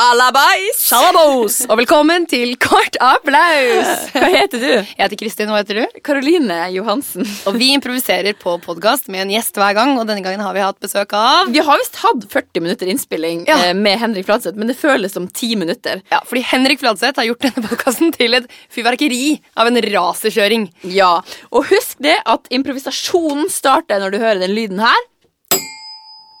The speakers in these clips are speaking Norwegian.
Sjalabais! Shalabos! Og velkommen til Kort applaus! Hva heter du? Jeg heter Kristin, hva heter du? Karoline Johansen. Og vi improviserer på podkast med en gjest hver gang, og denne gangen har vi hatt besøk av Vi har visst hatt 40 minutter innspilling Ja. eh, med Henrik Fladseth, men det føles som 10 minutter. ja, fordi Henrik Fladseth har gjort denne podkasten til et fyrverkeri av en raserkjøring. Ja, Og husk det at improvisasjonen starter når du hører den lyden her.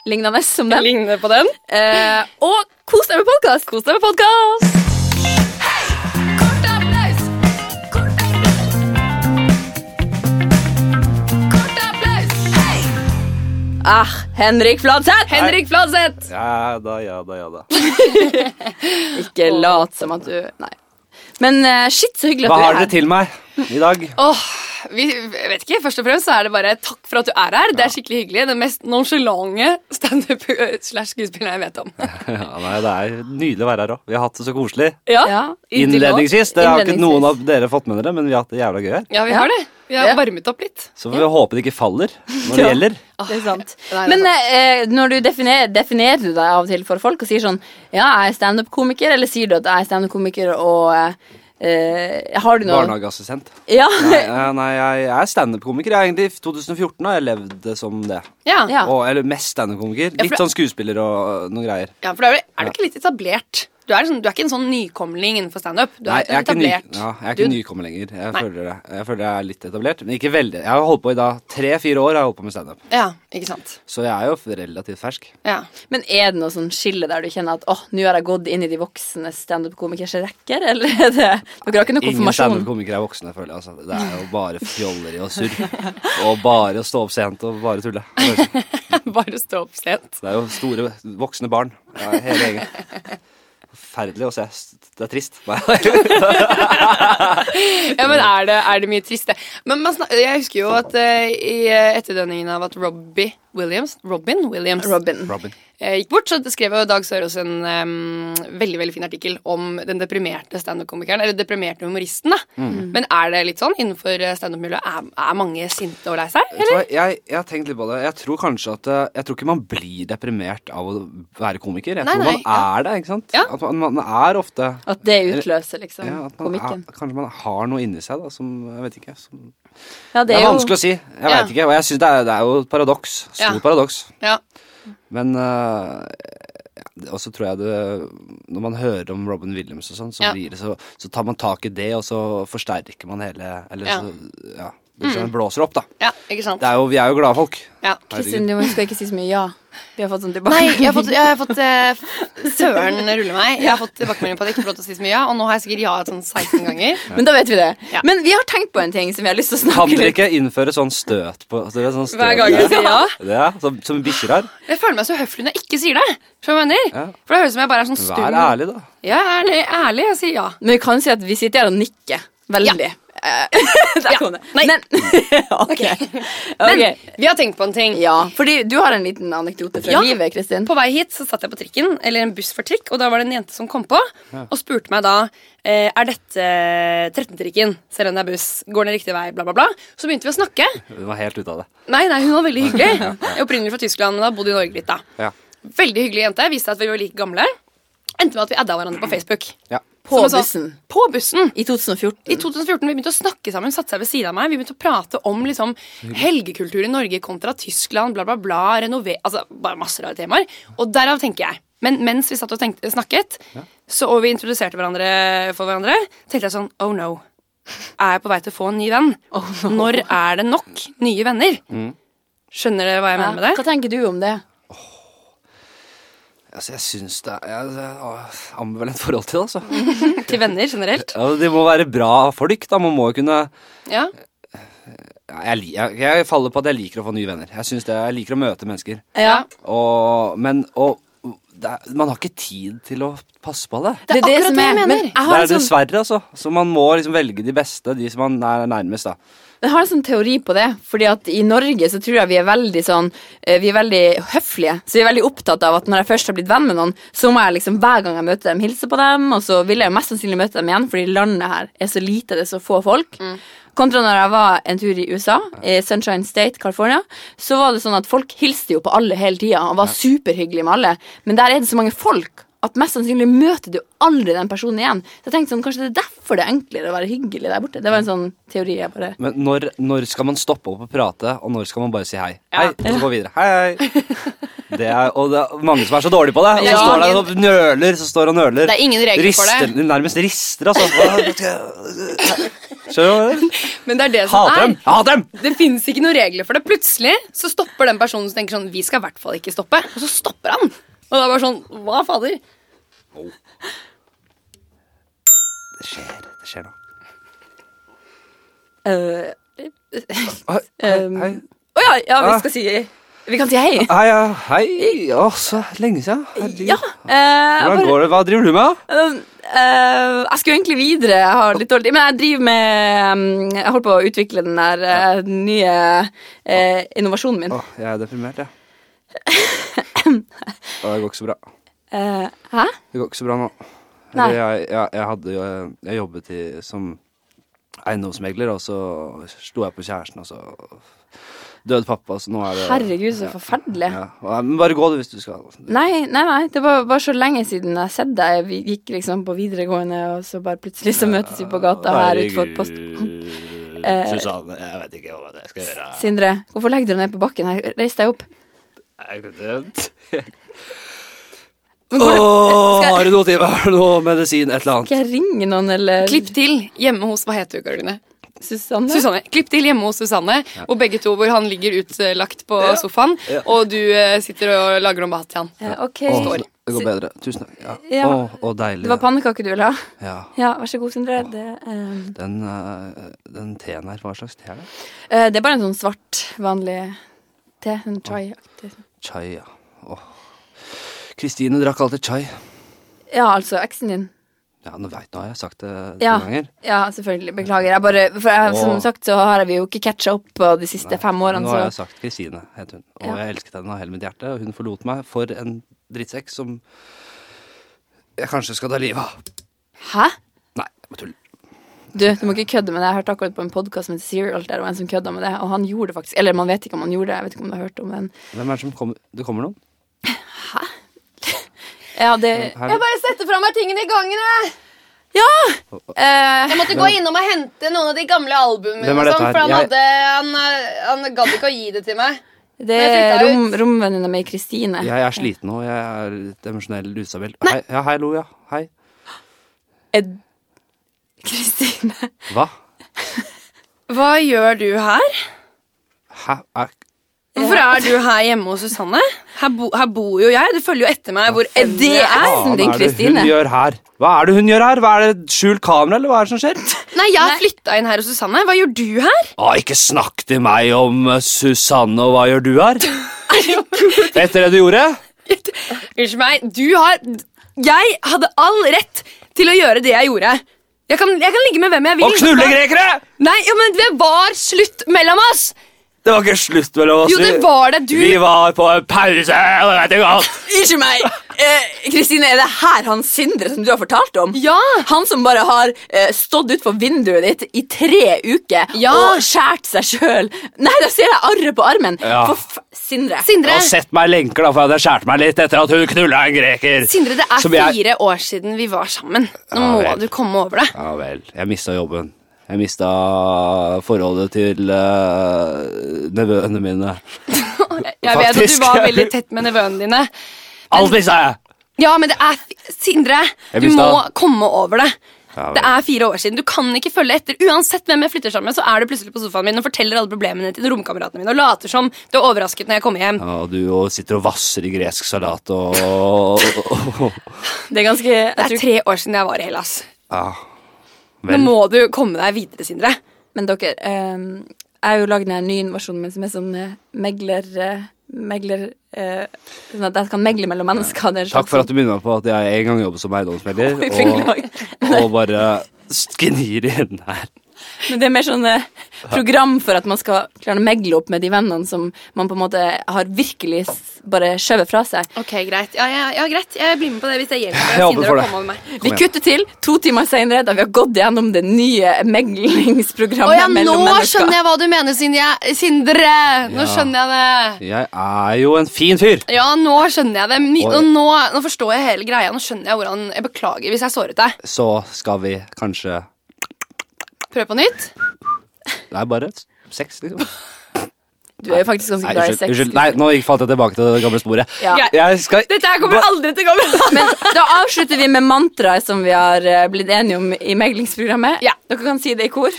Lignende som den. Ligner på den. Eh, og kos deg med podkast! Kos deg med podkast! Ah, Henrik Fladseth! Henrik Fladseth! Ja da, ja da, ja da. Ikke lat som at du Nei. Men eh, shit, så hyggelig Hva at du har er dere her. til meg i dag? Åh, vi, jeg vet ikke, Først og fremst så er det bare takk for at du er her. Det er skikkelig hyggelig. Den mest nonchalante standup-slash-skuespilleren jeg vet om. Ja, nei, Det er nydelig å være her òg. Vi har hatt det så koselig. Ja. inntil nå. Innledningsvis. Det har ikke Innledningsvis. noen av dere fått med dere, men vi har hatt det jævla gøy her. Ja, vi har det. Vi har Ja. varmet opp litt. Så vi håper det ikke faller når det Ja. gjelder. Det er sant. Nei, det er Men eh, når du definerer, definerer du deg av og til for folk og sier sånn Ja, jeg er standup-komiker, eller sier du at jeg er standup-komiker og eh, eh, Har du noe Barnehageassistent. Ja. Nei, eh, nei, jeg er standup-komiker. Jeg er egentlig I 2014 har jeg levd som det. Ja. Ja. Og, eller mest standup-komiker. Litt det- sånn skuespiller og noen greier. Ja, for da er, du- er du ikke litt etablert? Du er, sånn, du er ikke en sånn nykomling innenfor standup. Du er Nei, jeg er, en ikke ny, ja, etablert. jeg er ikke dude. nykommer lenger. Jeg Nei. føler, det. jeg føler jeg er litt etablert. Men ikke veldig. Jeg har holdt på i da tre-fire år har jeg holdt på med standup. Ja, ikke sant. Så jeg er jo relativt fersk. Ja. Men er det noe sånn skille der du kjenner at åh, nå har jeg gått inn i de voksne standup-komikers rekker, eller er det Dere har ikke noe Ingen konfirmasjon? standup-komikere er voksne, føler jeg. Altså. Det er jo bare fjolleri og surr. Og bare å stå opp sent og bare tulle. Det Bare stå opp sent. er jo store voksne barn. Ja, hele gjengen. Forferdelig å se. Det er trist. Nei. Ja, men er det, er det mye trist, det? Men man snak, jeg husker jo at eh, i eh, etterdønningen av at Robbie Williams Robin Williams Robin. Robin. eh, gikk bort, så skrev jo Dag Sørås en em, veldig veldig fin artikkel om den deprimerte standup-komikeren, eller deprimerte humoristen. da. Mm. Mm. Men er det litt sånn innenfor eh, standup-miljøet? Er, er mange sinte og lei seg? Vet du hva, jeg, jeg har tenkt litt på det. Jeg tror kanskje at eh, Jeg tror ikke man blir deprimert av å være komiker. Jeg Nei, tror nei, man er det, ikke sant? Ja. um, At man, man er ofte At det utløser liksom ja, at man er, komikken? Kanskje man har noe inni seg da, som jeg vet ikke som, Ja, Det er vanskelig å si. Jeg Ja. vet ikke. Og jeg synes det, er, det er jo et paradoks. Stort Ja. paradoks. Ja. Men eh, Og så tror jeg det Når man hører om Robin Williams og sånn, så, Ja. blir det så, så tar man tak i det, og så forsterker man hele Eller Ja. så Ja. Det Mm. sånn blåser opp, da. ja, ikke sant? Det er jo, vi er jo glade folk. Ja. Kristin, du må huske å ikke si så mye ja. Vi har fått sånn tilbake. Nei, jeg har fått, jeg har fått eh, Søren ruller meg. Jeg har fått tilbakemelding på at jeg ikke får lov til å si så mye ja, og nå har jeg sikkert ja sånn 16 ganger. Men da vet vi det. Ja. Men vi har tenkt på en ting som vi har lyst til å Kan snakke dere litt ikke innføre sånn støt på så det er sånn støt, hver gang vi sier ja. Det er, som, som bikkjer her. Jeg føler meg så høflig når jeg ikke sier det. Skjønner du hva jeg mener? Ja. For det høres ut som jeg bare er sånn stum. Vær ærlig, da. Ja, ærlig, ærlig. Jeg sier ja. Men vi kan si at vi sitter her og nikker veldig. Eh, Der kom det. Nei. Men, ok. Men Ok. vi har tenkt på en ting. Ja, fordi du har en liten anekdote fra Ja. livet, Kristin. På vei hit så satt jeg på trikken, eller en buss for trikk, og da var det en jente som kom på og spurte meg da eh, er dette 13-trikken, selv om det er buss, går den riktig vei, bla, bla, bla. Så begynte vi å snakke. Hun var helt ute av det. Nei, nei, hun var veldig hyggelig. Jeg er opprinnelig fra Tyskland, men har bodd i Norge litt, da. Ja. Veldig hyggelig jente. Viste at vi var like gamle. Endte med at vi adda hverandre på Facebook. ja. På Som en sånn- bussen. På bussen. I 2014. I 2014 vi begynte å snakke sammen, satte seg ved siden av meg. Vi begynte å prate om liksom, helgekultur i Norge kontra Tyskland, bla, bla, bla. Renove altså, bare masse rare temaer. Og derav tenker jeg. Men mens vi satt og tenkte, snakket, så, og vi introduserte hverandre for hverandre, tenkte jeg sånn Oh no. Er jeg på vei til å få en ny venn? Oh Når er det nok nye venner? Skjønner dere hva Ja. jeg mener med det? Hva tenker du om det? Altså, jeg syns det er jeg- jeg har ambivalent forhold til det, altså. Til venner generelt. Ja, de må være bra folk, da. Man må jo kunne Ja. Ja, jeg, li- jeg, jeg faller på at jeg liker å få nye venner. Jeg, synes det, jeg liker å møte mennesker. Ja. Og, men og, det er, man har ikke tid til å passe på det. Det er akkurat det jeg mener. Men jeg Det har, er en sånn, dessverre, altså. Så man må liksom velge de beste, de som man er nærmest, da. jeg har en sånn teori på det. Fordi at i Norge så tror jeg vi er veldig sånn eh, Vi er veldig høflige. Så vi er veldig opptatt av at når jeg først har blitt venn med noen, så må jeg liksom hver gang jeg møter dem, hilse på dem, og så vil jeg jo mest sannsynlig møte dem igjen, fordi landet her er så lite, det er så få folk. Kontra når jeg var en tur i USA, i Sunshine State, California, så var det sånn at folk hilste jo på alle hele tida og var superhyggelige med alle. Men der er det så mange folk at mest sannsynlig møter du aldri den personen igjen. Så jeg tenkte sånn, Kanskje det er derfor det er enklere å være hyggelig der borte. Det var en sånn teori jeg bare Men når, når skal man stoppe opp og prate, og når skal man bare si hei? Hei, og så gå videre. Hei, hei. Det er, og det er mange som er så dårlige på det. Og så Ja. står der og nøler, så står og nøler. Det er ingen regler for det. Rister- Nærmest rister, altså. Skjønner du? Men det er det som Hater dem! er. Jeg hater dem! Det finnes ikke noen regler for det. Plutselig så stopper den personen som tenker sånn Vi skal i hvert fall ikke stoppe. Og så stopper han. Og det er bare sånn Hva fader? Det skjer, det skjer nå. øh, Hei, Um, hei, Å ja, ja, vi Ah. skal si Vi kan si hei. hei, ja, hei. Å, så lenge siden. Herregud. Ja. øh, jeg Hvordan bare- går det? Hva driver du med? da? Øh, øh, jeg skulle egentlig videre. Jeg har litt dårlig tid, Men jeg driver med øh, Jeg holder på å utvikle den der øh, nye øh, innovasjonen min. Å, jeg er deprimert, jeg. Å, det går ikke så bra. Eh, hæ? Det går ikke så bra nå. Nei. Eller Jeg, jeg, jeg, hadde, jo- jeg jobbet i, som eiendomsmegler, og så slo jeg på kjæresten, og så døde pappa, så nå er det Herregud, så forferdelig. Ja, og- men bare gå, du, hvis du skal. Nei, nei, nei, det var bare så lenge siden jeg har sett deg. Vi gikk liksom på videregående, og så bare plutselig så møtes vi på gata her utenfor post... Eh, Susanne, jeg vet ikke hva jeg skal gjøre. Sindre, hvorfor legger du deg ned på bakken her? Reis deg opp. Men går det- Åh, har du noe til meg? Har du noe medisin? Et eller annet? Skal jeg ringe noen, eller Klipp til hjemme hos Hva heter du, Karoline? Susanne? Susanne. Klipp til hjemme hos Susanne, hvor begge to hvor han ligger utlagt på sofaen, Ja. og du eh, sitter og lager om mat til han. Ja, ok. Åh, Står. det går bedre. Tusen takk. Ja. Ja. Åh, åh, deilig. Det var pannekake du ville ha? ja. Ja, vær så god, Sindre. Det, eh, Den, eh, den teen her, hva slags te er det? eh, det er bare en sånn svart, vanlig te. En chai-aktig. Chai, ja. Åh. Kristine drakk alltid chai. Ja, altså eksen din. Ja, nå veit nå har jeg sagt det Ja. noen ganger. Ja, selvfølgelig. Beklager. Jeg bare, for jeg, som Åh. sagt så har vi jo ikke catcha opp på de siste fem årene, nå har jeg så sagt Kristine, het hun. Og Ja. jeg elsket henne av hele mitt hjerte. Og hun forlot meg for en drittsekk som jeg kanskje skal ta livet av. Hæ? Nei, jeg bare tuller. Du, du må ikke kødde med det. Jeg hørte akkurat på en podkast med Serial der det var en som kødda med det, og han gjorde det faktisk. Eller man vet ikke om han gjorde det, jeg vet ikke om du har hørt om den. Hvem er det som kommer? Det kommer noen? Ja, det Her. Jeg bare setter fra meg tingene i gangen, jeg. eh, Jeg måtte gå innom og hente noen av de gamle albumene. Hvem er og dette sånn, her? for han Jeg- gadd ikke å gi det til meg. Det Men jeg er flytta rom, ut. romvenninna mi, Kristine. Jeg er sliten nå. Jeg er litt emosjonell ustabil. Hei, ja, hei, Lo, ja. Hei. Ed- Kristine. Hva? Hva gjør du her? Hæ? Er Hvorfor er du her hjemme hos Susanne? Her, bo, her bor jo jeg. Du følger jo etter meg hvor Er det det er. eksen Faen, din, er det hun Kristine? gjør her? Hva er det hun gjør her? Hva er det Skjult kamera, eller hva er det som skjer? Nei, jeg har flytta inn her hos Susanne. Hva gjør du her? Å, ikke snakk til meg om eh, Susanne og hva gjør du her? Etter det du gjorde? Unnskyld meg. Du har Jeg hadde all rett til å gjøre det jeg gjorde. Jeg kan, jeg kan ligge med hvem jeg vil. Og knulle grekere! Nei, ja, men det var slutt mellom oss! Det var ikke slutt mellom oss. Jo, det var det. Du Vi var på en pause, og det vet jeg godt. Unnskyld meg! Eh, Kristine, er det her han Sindre som du har fortalt om? Ja! Han som bare har eh, stått utfor vinduet ditt i tre uker Ja. og skåret seg sjøl. Nei, da ser jeg arret på armen! Ja. For f Sindre. Jeg Sindre. har sett meg i lenker da, for jeg hadde skjært meg litt etter at hun knulla en greker. Sindre, det er Som jeg- fire år siden vi var sammen. Nå Ja, må vel. du komme over det. Ja vel, jeg mista jobben. Jeg mista forholdet til eh, nevøene mine. Jeg vet at du Faktisk. var veldig tett med nevøene dine. Alt mista jeg! Ja, men det er fi- Sindre, Jeg du visste må det. komme over det. Ja, vel. Det er fire år siden. Du kan ikke følge etter. Uansett hvem jeg flytter sammen med, så er du plutselig på sofaen min og forteller alle problemene til romkameratene mine og later som du er overrasket når jeg kommer hjem. Ja, og du og sitter og vasser i gresk salat og, og, og, Det er ganske Det er tre år siden jeg var i Hellas. Ja. Nå Ah, Vel. må du komme deg videre, Sindre. Men dere, ehm, jeg har jo lagd den her nye invasjonen min som er sånn eh, megler... eh, megler eh, sånn at jeg kan megle mellom mennesker. Det er sånn- en Takk slags for at du minner meg på at jeg en gang jobbet som eiendomsmelder, sånn- og, og bare sknir inn her. Men det er mer sånn eh, program for at man skal klare å megle opp med de vennene som man på en måte har virkelig s- bare skjøvet fra seg. Ok, greit. Ja, ja, ja, greit. Jeg blir med på det hvis det hjelper. Jeg håper siden dere for det. kom over meg. Vi igjen. kutter til to timer senere, da vi har gått gjennom det nye Å meglingsprogrammet. ja, nå mellom mennesker. skjønner jeg hva du mener, Sindre. Sindre. Nå Ja. skjønner jeg det. Jeg er jo en fin fyr! Ja, nå skjønner jeg det. Ny- Oi. Nå, nå, nå forstår jeg hele greia. Nå skjønner jeg hvordan Jeg beklager hvis jeg såret deg. Så skal vi kanskje Prøv på nytt. Det er bare sex, liksom. Du er jo faktisk ganske Nei, glad i unnskyld. sex. unnskyld. Nei, nå gikk- falt jeg tilbake til det gamle sporet. Ja. Greit. Jeg skal Dette her kommer aldri til å gå bra. Men da avslutter vi med mantraet som vi har eh, blitt enige om i meglingsprogrammet. Ja. Dere kan si det i kor.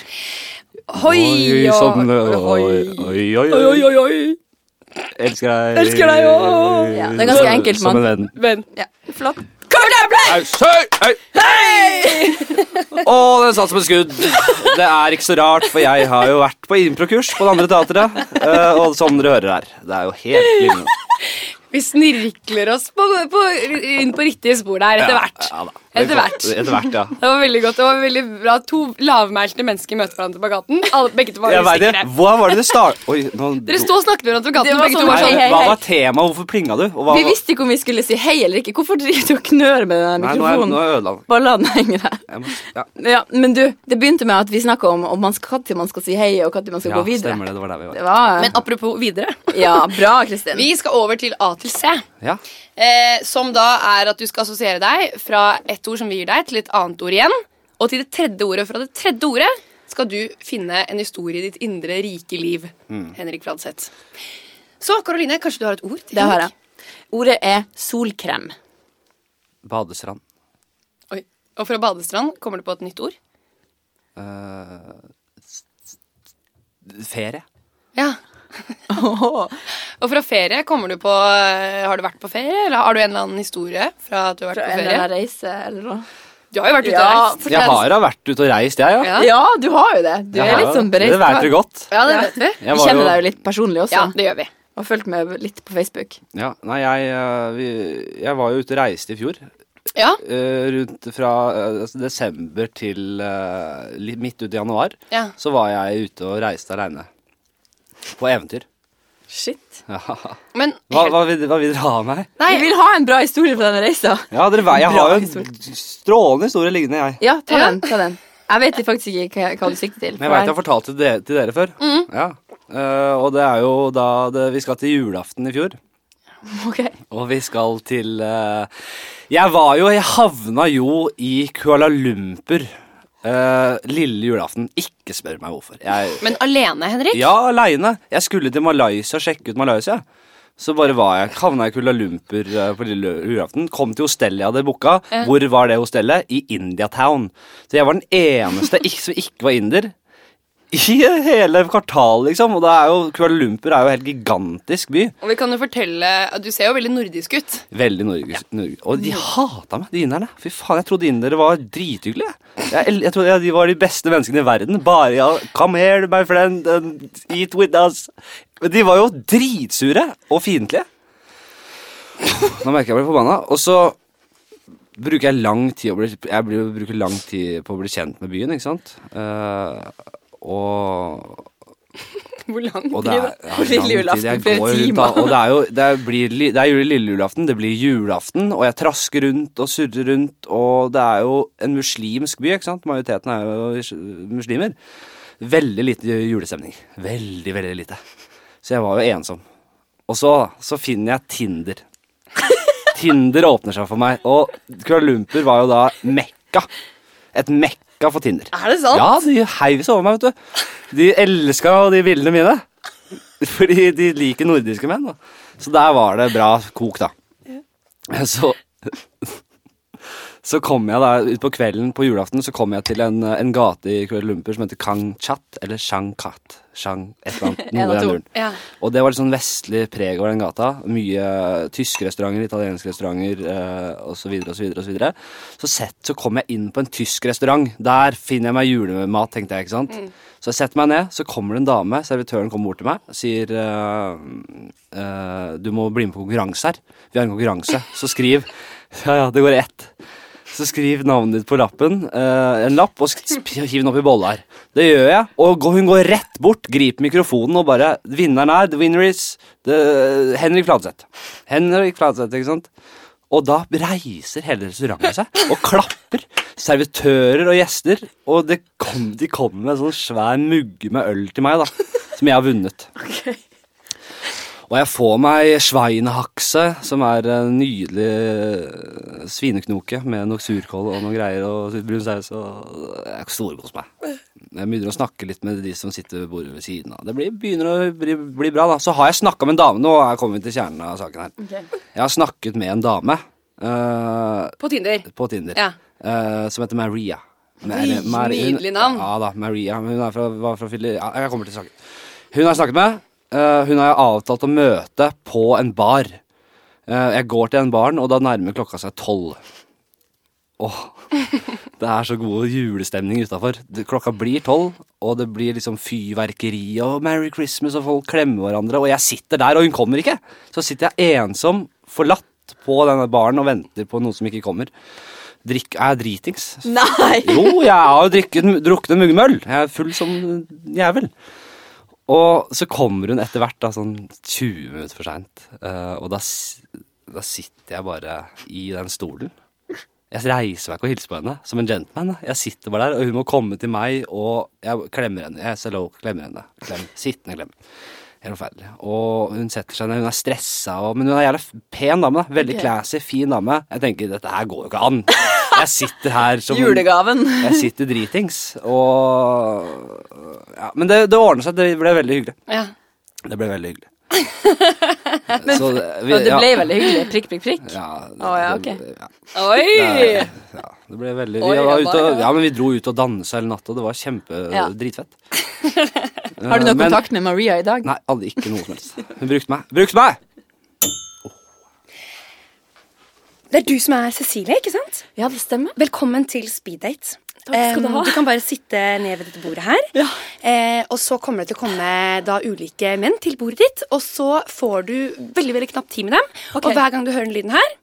Hoi, Oi, og- sånn, oi, oi, Oi, oi, oi. oi, oi. Elsker deg. Sånn, Elsker deg, å. Ja, det er ganske Som- enkelt, Som en mann. venn. Men Flott. Au, søy, au. Å, den satt som et skudd. Det er ikke så rart, for jeg har jo vært på improkurs på det andre teatret. eh, Og som dere hører her. Det er jo helt lignende. vi snirkler oss på, på, inn på riktig spor der etter hvert. Ja, ja da. Etter hvert. Etter hvert, ja. Det var veldig godt. det var veldig bra To lavmælte mennesker møter hverandre på gaten. Alle, begge to var Jeg vet usikre. det. Hva var det det start... Oi, nå... Dere sto og snakket med hverandre på Det gaten. var Begge sånn- to var Nei, hei, sånn hei, Hva hei. var temaet? Hvorfor plinga du? Og hva, Vi visste ikke om vi skulle si hei eller ikke. Hvorfor driver du og knør med den her Nei, nå er, nå mikrofonen? er jeg ødelagt. Bare la den henge der. Jeg må- Ja. Ja, men du, det begynte med at vi snakka om om man skal, når man skal si hei, og når man skal ja, gå videre. stemmer det. Det var der vi var. Det var Men apropos videre. Ja, bra, Kristin. Vi skal over til A til C. Ja. Eh, som da er at du skal assosiere deg fra et ord som vi gir deg, til et annet ord igjen. Og til det tredje ordet. Fra det tredje ordet skal du finne en historie i ditt indre rike liv. Mm. Henrik Fladseth. Så Karoline, kanskje du har et ord? til Det har jeg. Henrik? Ordet er solkrem. Badestrand. Oi. Og fra badestrand kommer du på et nytt ord? Eh, s- s- ferie. Ja. Og fra ferie kommer du på eh, Har du vært på ferie, eller har du en eller annen historie fra at du har vært Fra på en eller ferie? annen reise eller noe. Du har jo vært ute og Ja, reist. for- Jeg har da vært ute og reist, jeg, ja. Ja. Ja, du har jo det. Du Jeg er har litt sånn det. bereist. Det vet du godt. Ja, det Ja. vet vi. Vi kjenner deg jo litt personlig også. Ja, det gjør vi. Og har fulgt med litt på Facebook. Ja, nei, jeg, eh, vi, jeg var jo ute og reiste i fjor. Ja, Eh, rundt fra eh, altså desember til eh, li- midt ut i januar. Ja. Så var jeg ute og reiste aleine. På eventyr. Shit. Ja. men Hva, hva, vil, hva vil dere ha av meg? Nei. Vi vil ha en bra historie fra den reisa. Ja, dere, vet- jeg Bra har jo historie. en strålende historie liggende, jeg. Ja, ta Ja. den. ta den. Jeg vet faktisk ikke hva, hva du sikter til. Men jeg veit jeg har fortalt det til dere, til dere før. Ja. Eh, og det er jo da det, Vi skal til julaften i fjor. Ok. Og vi skal til eh, Jeg var jo Jeg havna jo i Kuala Lumpur eh, lille julaften. Ikke spør meg hvorfor. Jeg, Men alene, Henrik? ja, aleine. Jeg skulle til Malaysia, sjekke ut Malaysia. Så bare var jeg, havna jeg i Kuala Lumpur eh, på lille julaften. Kom til hostellet jeg hadde booka. Hvor var det hostellet? I Indiatown. Så jeg var den eneste ikke, som ikke var inder. I hele kvartalet, liksom. Og det er jo, Kuala Lumpur er jo en helt gigantisk by. Og vi kan jo fortelle at Du ser jo veldig nordisk ut. Veldig Norge. Norge. Og de hata meg, de inderne. Fy faen, Jeg trodde indere var drithyggelige. Jeg, el- jeg trodde de var de beste menneskene i verden. Bare ja, 'come here, my friend, and eat with us'. Men de var jo dritsure og fiendtlige. Nå merker jeg meg forbanna. Og så bruker jeg lang tid å bli, Jeg blir, bruker lang tid på å bli kjent med byen, ikke sant? Eh, og Hvor lang og blir det er, det? ja, På lille lang tid. julaften Jeg flere går rundt timer. da, Og det er jo det er, blir, li- det er jo lille julaften, det blir julaften, og jeg trasker rundt og surrer rundt, og det er jo en muslimsk by, ikke sant? Majoriteten er jo is- muslimer. Veldig lite julestemning. Veldig, veldig lite. Så jeg var jo ensom. Og så, så finner jeg Tinder. Tinder åpner seg for meg, og Kuala Lumpur var jo da mekka. Et mekka for Tinder. Er det sant? Ja, de heiv seg over meg, vet du. De elska de bildene mine. Fordi de liker nordiske menn. Da. Så der var det bra kok, da. Så så kom jeg da ut på kvelden på julaften så kom jeg til en, en gate i Kuala Lumpur som heter Kang Chat, eller Shang Kat. Shang, et eller annet. En av Noe i den to. duren. Ja. Og det var litt sånn vestlig preg over den gata. Mye tyske restauranter, italienske restauranter eh, osv. osv. osv. Så sett så kom jeg inn på en tysk restaurant. Der finner jeg meg julemat, tenkte jeg. ikke sant? Så jeg setter meg ned, så kommer det en dame, servitøren kommer bort til meg og sier eh, eh, Du må bli med på konkurranse her. Vi har en konkurranse, så skriv. Ja, ja, det går i ett. Så skriv navnet ditt på lappen. eh, en lapp, og sk- sp- hiv den opp i bollar. Det gjør jeg. Og gå- hun går rett bort, griper mikrofonen og bare Vinneren er The winner is the, Henrik Fladseth. Henrik Fladseth, ikke sant? Og da reiser hele restauranten seg og klapper. Servitører og gjester. Og det kom, de kom med en sånn svær mugge med øl til meg, da. Som jeg har vunnet. Og jeg får meg sveinhakse, som er en nydelig eh, svineknoke med noe surkål og noe greier og brun saus. Og jeg storkoser meg. Jeg begynner å snakke litt med de som sitter ved bordet ved siden av. Det blir, begynner å bli, bli bra, da. Så har jeg snakka med en dame. Nå er- kommer vi til kjernen av saken her. Jeg har snakket med en dame eh, På Tinder. på Tinder Ja. eh, som heter Maria. Nei, Oi, eller Mari- hun- nydelig navn. Ja da, Maria. men Hun er fra, var fra Fili... Ja, jeg kommer til saken. Hun har jeg snakket med. eh, hun har jeg avtalt å møte på en bar. Eh, jeg går til den baren, og da nærmer klokka seg tolv. Åh, det er så god julestemning utafor. Klokka blir tolv, og det blir liksom fyrverkeri og Merry Christmas, og folk klemmer hverandre, og jeg sitter der, og hun kommer ikke. Så sitter jeg ensom, forlatt på denne baren og venter på noen som ikke kommer. Drikk, jeg er dritings. Nei! Jo, jeg har jo drikket, drukket en mugge med øl. Jeg er full som en jævel. Og så kommer hun etter hvert, da, sånn 20 minutter for seint. og da, s- da sitter jeg bare i den stolen. Jeg reiser meg ikke og hilser på henne som en gentleman. da. Jeg sitter bare der, og hun må komme til meg, og jeg klemmer henne. Jeg hello, klemmer henne. Klem. Sittende klem. Helt forferdelig. Og hun setter seg ned, hun er stressa, og, men hun er jævla f- pen dame. da. Veldig classy, fin dame. Jeg tenker dette her går jo ikke an. Jeg sitter her som en- Julegaven. jeg sitter dritings, og ja, Men det, det ordna seg. Det ble veldig hyggelig. Ja. Det ble veldig hyggelig. Så vi- Og det ble ja. veldig hyggelig. Prikk, prikk, prikk. Ja, Å, ja, det- ok. ja. Oi! Det, ja, det ble veldig Oi, vi, var ja, ute, og- bare- ja, men vi dro ut og dansa hele natta, og det var kjempe Ja. dritfett. Har du Eh, noe men- kontakt med Maria i dag? Nei, hadde ikke noe som helst. Hun brukte meg. Brukte meg! Det er du som er Cecilie, ikke sant? Ja, det stemmer. Velkommen til speeddate. skal du ha. kan bare sitte ned ved dette bordet her. Eh, og så kommer det til å komme da ulike menn til bordet ditt. Og så får du veldig veldig knapt tid med dem. Ok. Og hver gang du hører den lyden her,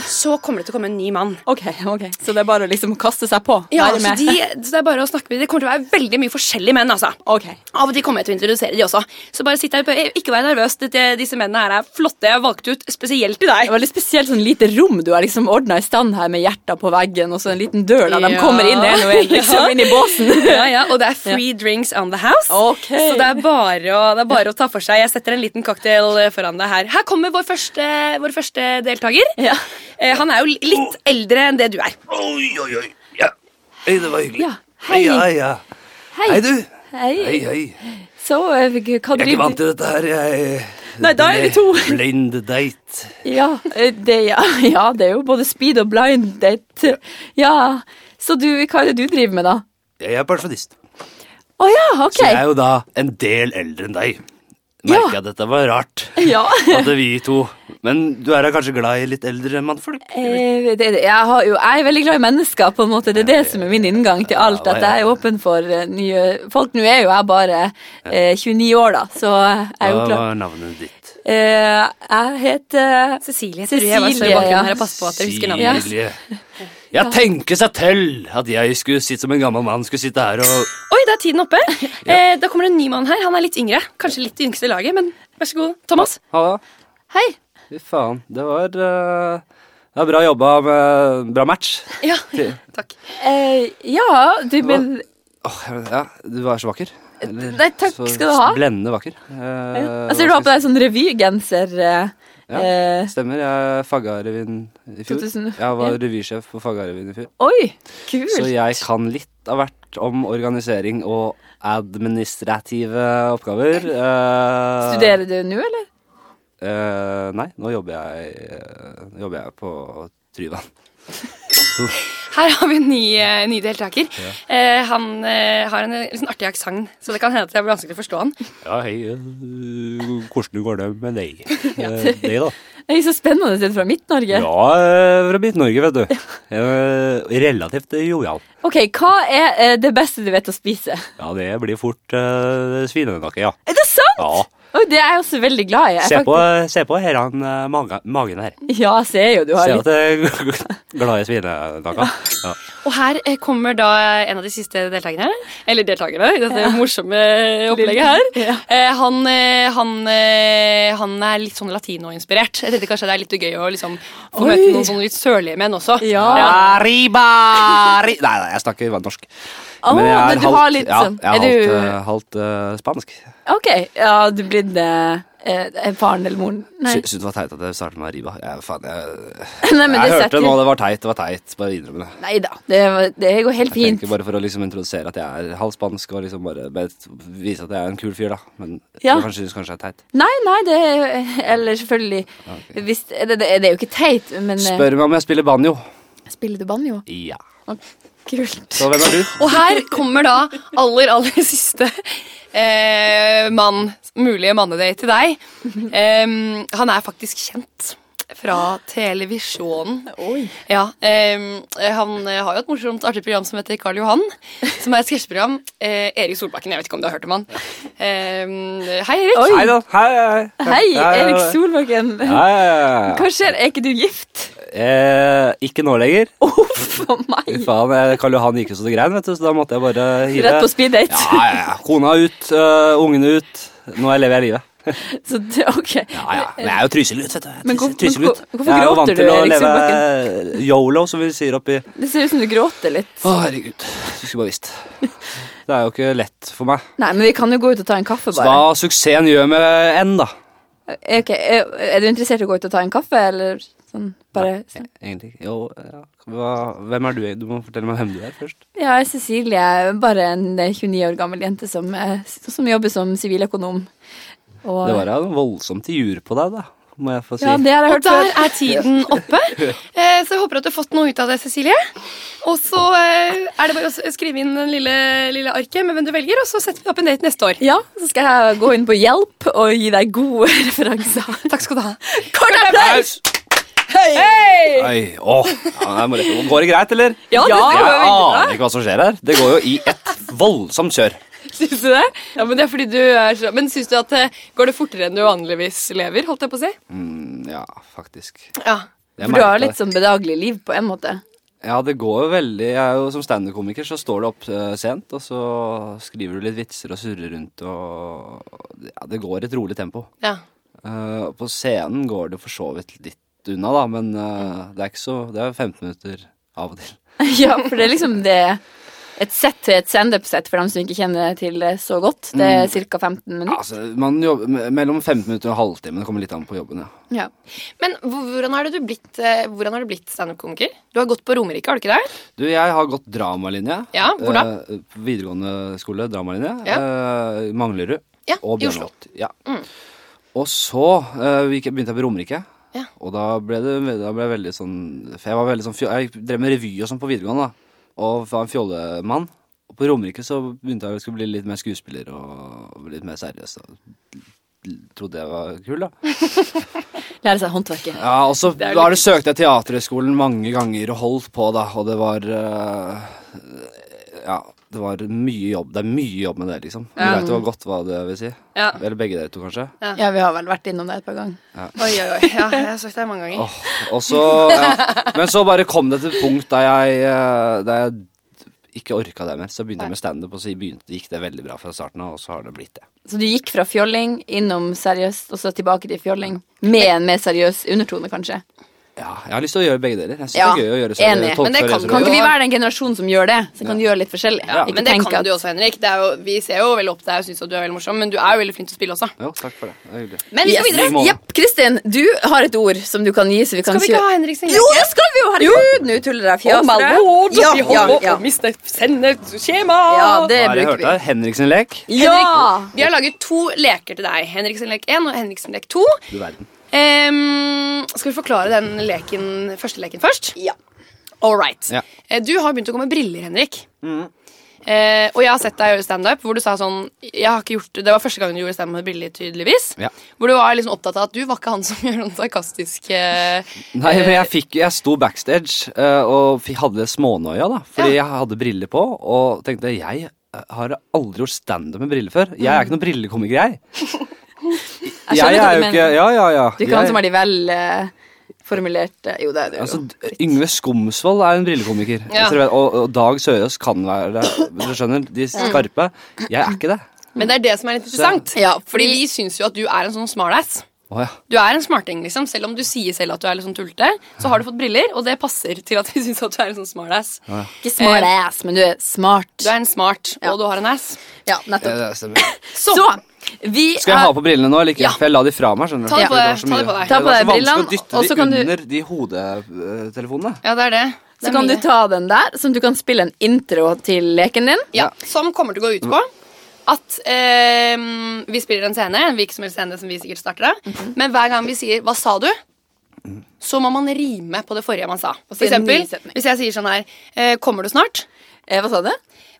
så kommer det til å komme en ny mann. Ok, ok. Så det er bare å liksom kaste seg på? Ja, Være så, med. de, så Det er bare å snakke med dem. Det kommer til å være veldig mye forskjellige menn. altså. Ok. Av og til kommer jeg til å introdusere de også. Så bare sitt der oppe. Ikke vær nervøs. Dette, disse mennene her er flotte. Jeg har valgt ut spesielt til Det deg. er veldig spesielt sånn lite rom du har liksom ordna i stand her med hjerter på veggen og så en liten dør der de Ja. kommer inn en og en, liksom inn i båsen. Ja, ja, Og det er free drinks on the house. Ok. Så det er, bare å, det er bare å ta for seg. Jeg setter en liten cocktail eh, foran deg her. Her kommer vår første, vår første deltaker. Ja. Eh, han er jo li- litt eldre enn det du er. Oi, oi, oi. Ja. Hei, det var hyggelig. Ja, hei. ja, ja. Hei. du. Hei. hei. Så eh, hva driver du- til dette her. Jeg Nei, da er vi to. Blind date. Ja, eh, det, ja, ja, det er jo både speed og blind date. Ja, så du, hva er det du driver med, da? Jeg er pensjonist. Å ja, ok. Så jeg er jo da en del eldre enn deg. Ja. Merker jeg at dette var rart. Ja. At det er vi to. Men du er da kanskje glad i litt eldre mannfolk? Eh, det, det- jeg, har jo, jeg er veldig glad i mennesker, på en måte. Det er det som er min inngang til alt. Ja, At jeg er åpen for eh, nye folk. Nå er jo jeg bare eh, 29 år, da, så eh, jeg er jo Hva klar. var navnet ditt? Eh, jeg heter Cecilie. Cecilie, Cecilie jeg var i ja. bakgrunnen her og passet på at dere husker navnet. Silje. Jeg tenker seg til at jeg skulle sitte som en gammel mann skulle sitte her og Oi, da er tiden oppe. Eh, da kommer det en ny mann her. Han er litt yngre. Kanskje litt i yngste laget, men vær så god. Thomas. Halla. Hei! Fy faen. Det var eh, det var bra jobba med Bra match. Ja, Til- takk. Eh, ja, du men eh, Åh, ja, du var så vakker. Eller Nei, takk så skal du ha. Blendende vakker. Eh, Jeg ser du har på deg sånn revygenser. Eh, Ja. eh, Stemmer. Jeg fagga revyen i fjor. 2000, Jeg var ja. revysjef på Fagga-revyen i fjor. oi, kult! Så jeg kan litt av hvert om organisering og administrative oppgaver. Eh, Studerer du nå, eller? eh, nei, nå jobber jeg, eh, nå jobber jeg på Tryvann. Her har vi en ny, eh, ny deltaker. Eh, han eh, har en eh, litt sånn artig aksent, så det kan hende at det blir vanskelig å forstå han. Ja, hei. eh, Hvordan går det med deg? Eh, Deg, da? eh, Det er jo så spennende å se det fra Midt-Norge. fra Midt-Norge, vet du. Eh, Relativt jovial. Ok, Hva er eh, det beste du vet å spise? eh, Ja, det blir fort svinenøkke, ja. Er det sant?! Ja. Oi, det er jeg også veldig glad i. Jeg Se er på, se på her, han, eh, maga, magen her. faktisk- Ja, jeg ser jo du har Se litt at det er glade svinenakka. Ja. Og her eh, kommer da en av de siste deltakerne, eller deltakerne i dette morsomme opplegget her. Ja. Eh, han, eh, han, eh, han er litt sånn latinoinspirert. Jeg tenkte kanskje det er litt gøy å liksom få Oi. møte noen sånne litt sørlige menn også. Ja. Arriba! Arri nei, nei, jeg snakker bare norsk. Å, men du har litt ja, sånn- jeg er er halvt, du- eh, halvt eh, spansk. Ok, ja, du blir det eh, faren eller moren. Nei, Sy Syns det var teit at det startet med Arriba. Jeg, faen, jeg, Nei men jeg det hørte setter det nå, det var teit, det var teit. Bare innrømme det. Nei da, det, det går helt Jeg fint. tenker bare for å liksom introdusere at jeg er halvt spansk, og liksom bare, bare vise at jeg er en kul fyr, da. Men Ja. du kanskje synes kanskje jeg er teit. Nei, nei, det er- Eller selvfølgelig hvis, det, det, det er jo ikke teit, men eh, Spør meg om jeg spiller banjo. Spiller du banjo? Ja. Å, Kult. Så hvem er du? Og her kommer da aller, aller siste eh, mann, mulige mannedate til deg. Em, han er faktisk kjent fra televisjonen. Oi. Ja, em, Han eh, har jo et morsomt artig program som heter Karl Johan. Som er et sketsjeprogram. Eh, Erik Solbakken, jeg vet ikke om du har hørt om han. Em, hei, Erik. Oi. Hei da. Hei, hei. Hei, Hei, hei, Erik hei. Solbakken. Hei, hei, hei. Hva skjer? Er ikke du gift? Eh, ikke nå lenger. Uff a Fy meg. faen, jeg- Karl Johan gikk jo så det grein, vet du, så da måtte jeg bare hive Rett på speed date. Ja, ja, ja. Kona ut, øh, ungene ut. Nå lever jeg livet. Så det, ok. Ja, ja. Men jeg er jo tryselut, vet du. Jeg er Eh, Men hvor- trys- tryselut. men hvor- hvorfor jeg er jo gråter vant du, til å Erik leve yolo, som vi sier oppi Det ser ut som du gråter litt. Å, herregud. Du skulle bare visst. Det er jo ikke lett for meg. Nei, men vi kan jo gå ut og ta en kaffe, Så bare. hva suksessen gjør med en, da? Eh, ok, Er, er du interessert i å gå ut og ta en kaffe, eller sånn bare Egentlig ikke. Jo, ja. Hva, hvem er du? Du må fortelle meg hvem du er først. Ja, jeg er Cecilie er bare en eh, 29 år gammel jente som, eh, som jobber som siviløkonom. Og- Det var da noe voldsomt jur på deg, da. Må jeg få si. Ja, det har jeg Og hørt før. der er tiden oppe. Eh, Så jeg håper at du har fått noe ut av det, Cecilie. Og så eh, er det bare å s- skrive inn den lille, lille arket med hvem du velger, og så setter vi opp en date neste år. Ja, så skal jeg gå inn på hjelp og gi deg gode referanser. Takk skal du ha. Kort applaus! Oi, åh. Ja, jeg må rett- går det greit, eller? Ja, det jeg går veldig bra. aner ikke hva som skjer her. Det går jo i et voldsomt kjør. Syns du det? Ja, Men det er fordi du er så Men syns du at det går det fortere enn du vanligvis lever? holdt jeg på å si? Mm, ja, faktisk. Ja. Jeg For du har merker litt sånn bedagelig liv på en måte. Ja, det går jo veldig Jeg er jo Som standup-komiker så står du opp eh, sent, og så skriver du litt vitser og surrer rundt og Ja, det går i et rolig tempo. ja. Eh, på scenen går det for så vidt litt unna, da, men eh, det er ikke så Det er 15 minutter av og til. ja, for det er liksom det Et sett til et standup-sett for dem som ikke kjenner til det så godt. Det Mm. er ca. 15 Ja, minutter. altså, man jobber me- mellom 15 minutter og en halvtime. Det kommer litt an på jobben, ja. Ja. Men hvor- hvordan har det du blitt, eh, hvordan har du blitt standup-komiker? Du har gått på Romerike, har du ikke det? Du, jeg har gått dramalinje. Ja, hvor da? Eh, på videregående skole, dramalinje. Eh, Manglerud. Ja, og i Oslo. Mm. Bjørnholt. Ja. Og så eh, gikk jeg- begynte jeg på Romerike. Ja. Og da ble det da ble jeg veldig sånn For jeg var veldig sånn fjo- Jeg drev med revy og sånn på videregående, da. Og var en fjollemann. Og på Romerike så begynte jeg å skulle bli litt mer skuespiller og litt mer seriøs. Og l- trodde jeg var kul, da. Lære seg håndverket. Ja, og så Det er jo var litt det søkte jeg Teaterhøgskolen mange ganger og holdt på, da, og det var eh, Ja, det var mye jobb. Det er mye jobb med det, liksom. Du Ja. vet jo godt hva det vil si. Ja. Eller begge dere to, kanskje. Ja, vi har vel vært innom det et par ganger. Oi, oi, oi. Ja, jeg har sagt det mange ganger. Åh, og så ja. Men så bare kom det til et punkt da jeg, eh, da jeg ikke orka det mer. Så begynte jeg med standup, og så begynte, gikk det veldig bra fra starten av, og så har det blitt det. Så du gikk fra fjolling innom seriøst, og så tilbake til fjolling. Med en mer seriøs undertone, kanskje. Ja, jeg har lyst til å gjøre begge deler. Jeg synes Ja, det er gøy å gjøre enig. tolke Men det seriøse kan Kan roller. ikke vi være den generasjonen som gjør det? Så kan du gjøre litt forskjellig. Ja, Ikke men det tenk kan at- du også, Henrik. Det er jo, vi ser jo veldig opp til deg og syns du er veldig morsom, men du er jo veldig flink til å spille også. Jo, takk for det. det er hyggelig. Men vi skal Yes. videre. videre. Jepp, Kristin, du har et ord som du kan gi. Så vi kan Skal vi ikke kjøre- ha Henrik sin Jo, det skal vi jo! Herregud, nå tuller jeg fjas. dere. Ja, ja, ja. miste sendeskjema! ja, det Har jeg bruker hørt vi. her? Henrik sin lek? Ja! Vi har laget to leker til deg. Henrik sin lek 1 og Henrik sin lek 2. Du verden. Ehm, skal vi forklare den leken, første leken først? Ja. All right. Ja. Eh, Du har begynt å gå med briller, Henrik. Mm. Eh, og jeg har sett deg gjøre standup hvor du sa sånn jeg har ikke gjort, Det var første gangen du gjorde standup med briller, tydeligvis. Ja. Hvor du var liksom opptatt av at du var ikke han som gjør noen sarkastiske Nei, men jeg, fikk, jeg sto backstage eh, og fikk, hadde smånøya, da. Fordi jeg hadde briller på og tenkte jeg eh, har aldri gjort standup med briller før. Jeg er ikke noen brillekomiker, jeg. Jeg Jeg skjønner hva er du jo ikke mener. Ja, ja, ja. Du er ikke han Jeg- som har de velformulerte Jo, det er du jo. Altså, d- Yngve Skomsvold er en brillekomiker. Ja. Altså, du vet, Og, og Dag Sørås kan være det. Du skjønner, De skarpe. Jeg er ikke det. Men det er det som er litt interessant. Ja, Fordi fordi vi syns jo at du er en sånn smartass. Å, ja. Du er en smarting, liksom. Selv om du sier selv at du er litt sånn tullete, så har du fått briller, og det passer til at vi syns at du er en sånn smartass. Ikke smart ass, men du er smart. Du er en smart, Eh. Ja. og du har en ass. Ja, Ja, nettopp. det stemmer. Så, vi Skal jeg ha på brillene nå eller ikke? Ja. For jeg la de fra meg. skjønner du Ta det på Det var deg, så ta det mye. på deg. Ta på deg Det var så brillene, og så vanskelig å kan dytte du- de under de hodetelefonene. Ja, det er det. Det Så er kan du mye. ta den der, som du kan spille en intro til leken din. ja, Som kommer til å gå ut på at ehm, vi spiller en scene, en hvilken som helst scene som vi sikkert starter av. Mhm. Men hver gang vi sier 'hva sa du', så må man rime på det forrige man sa. For si en ny eksempel, setning. hvis jeg sier sånn her eh, 'Kommer du snart?' Eh, hva sa du?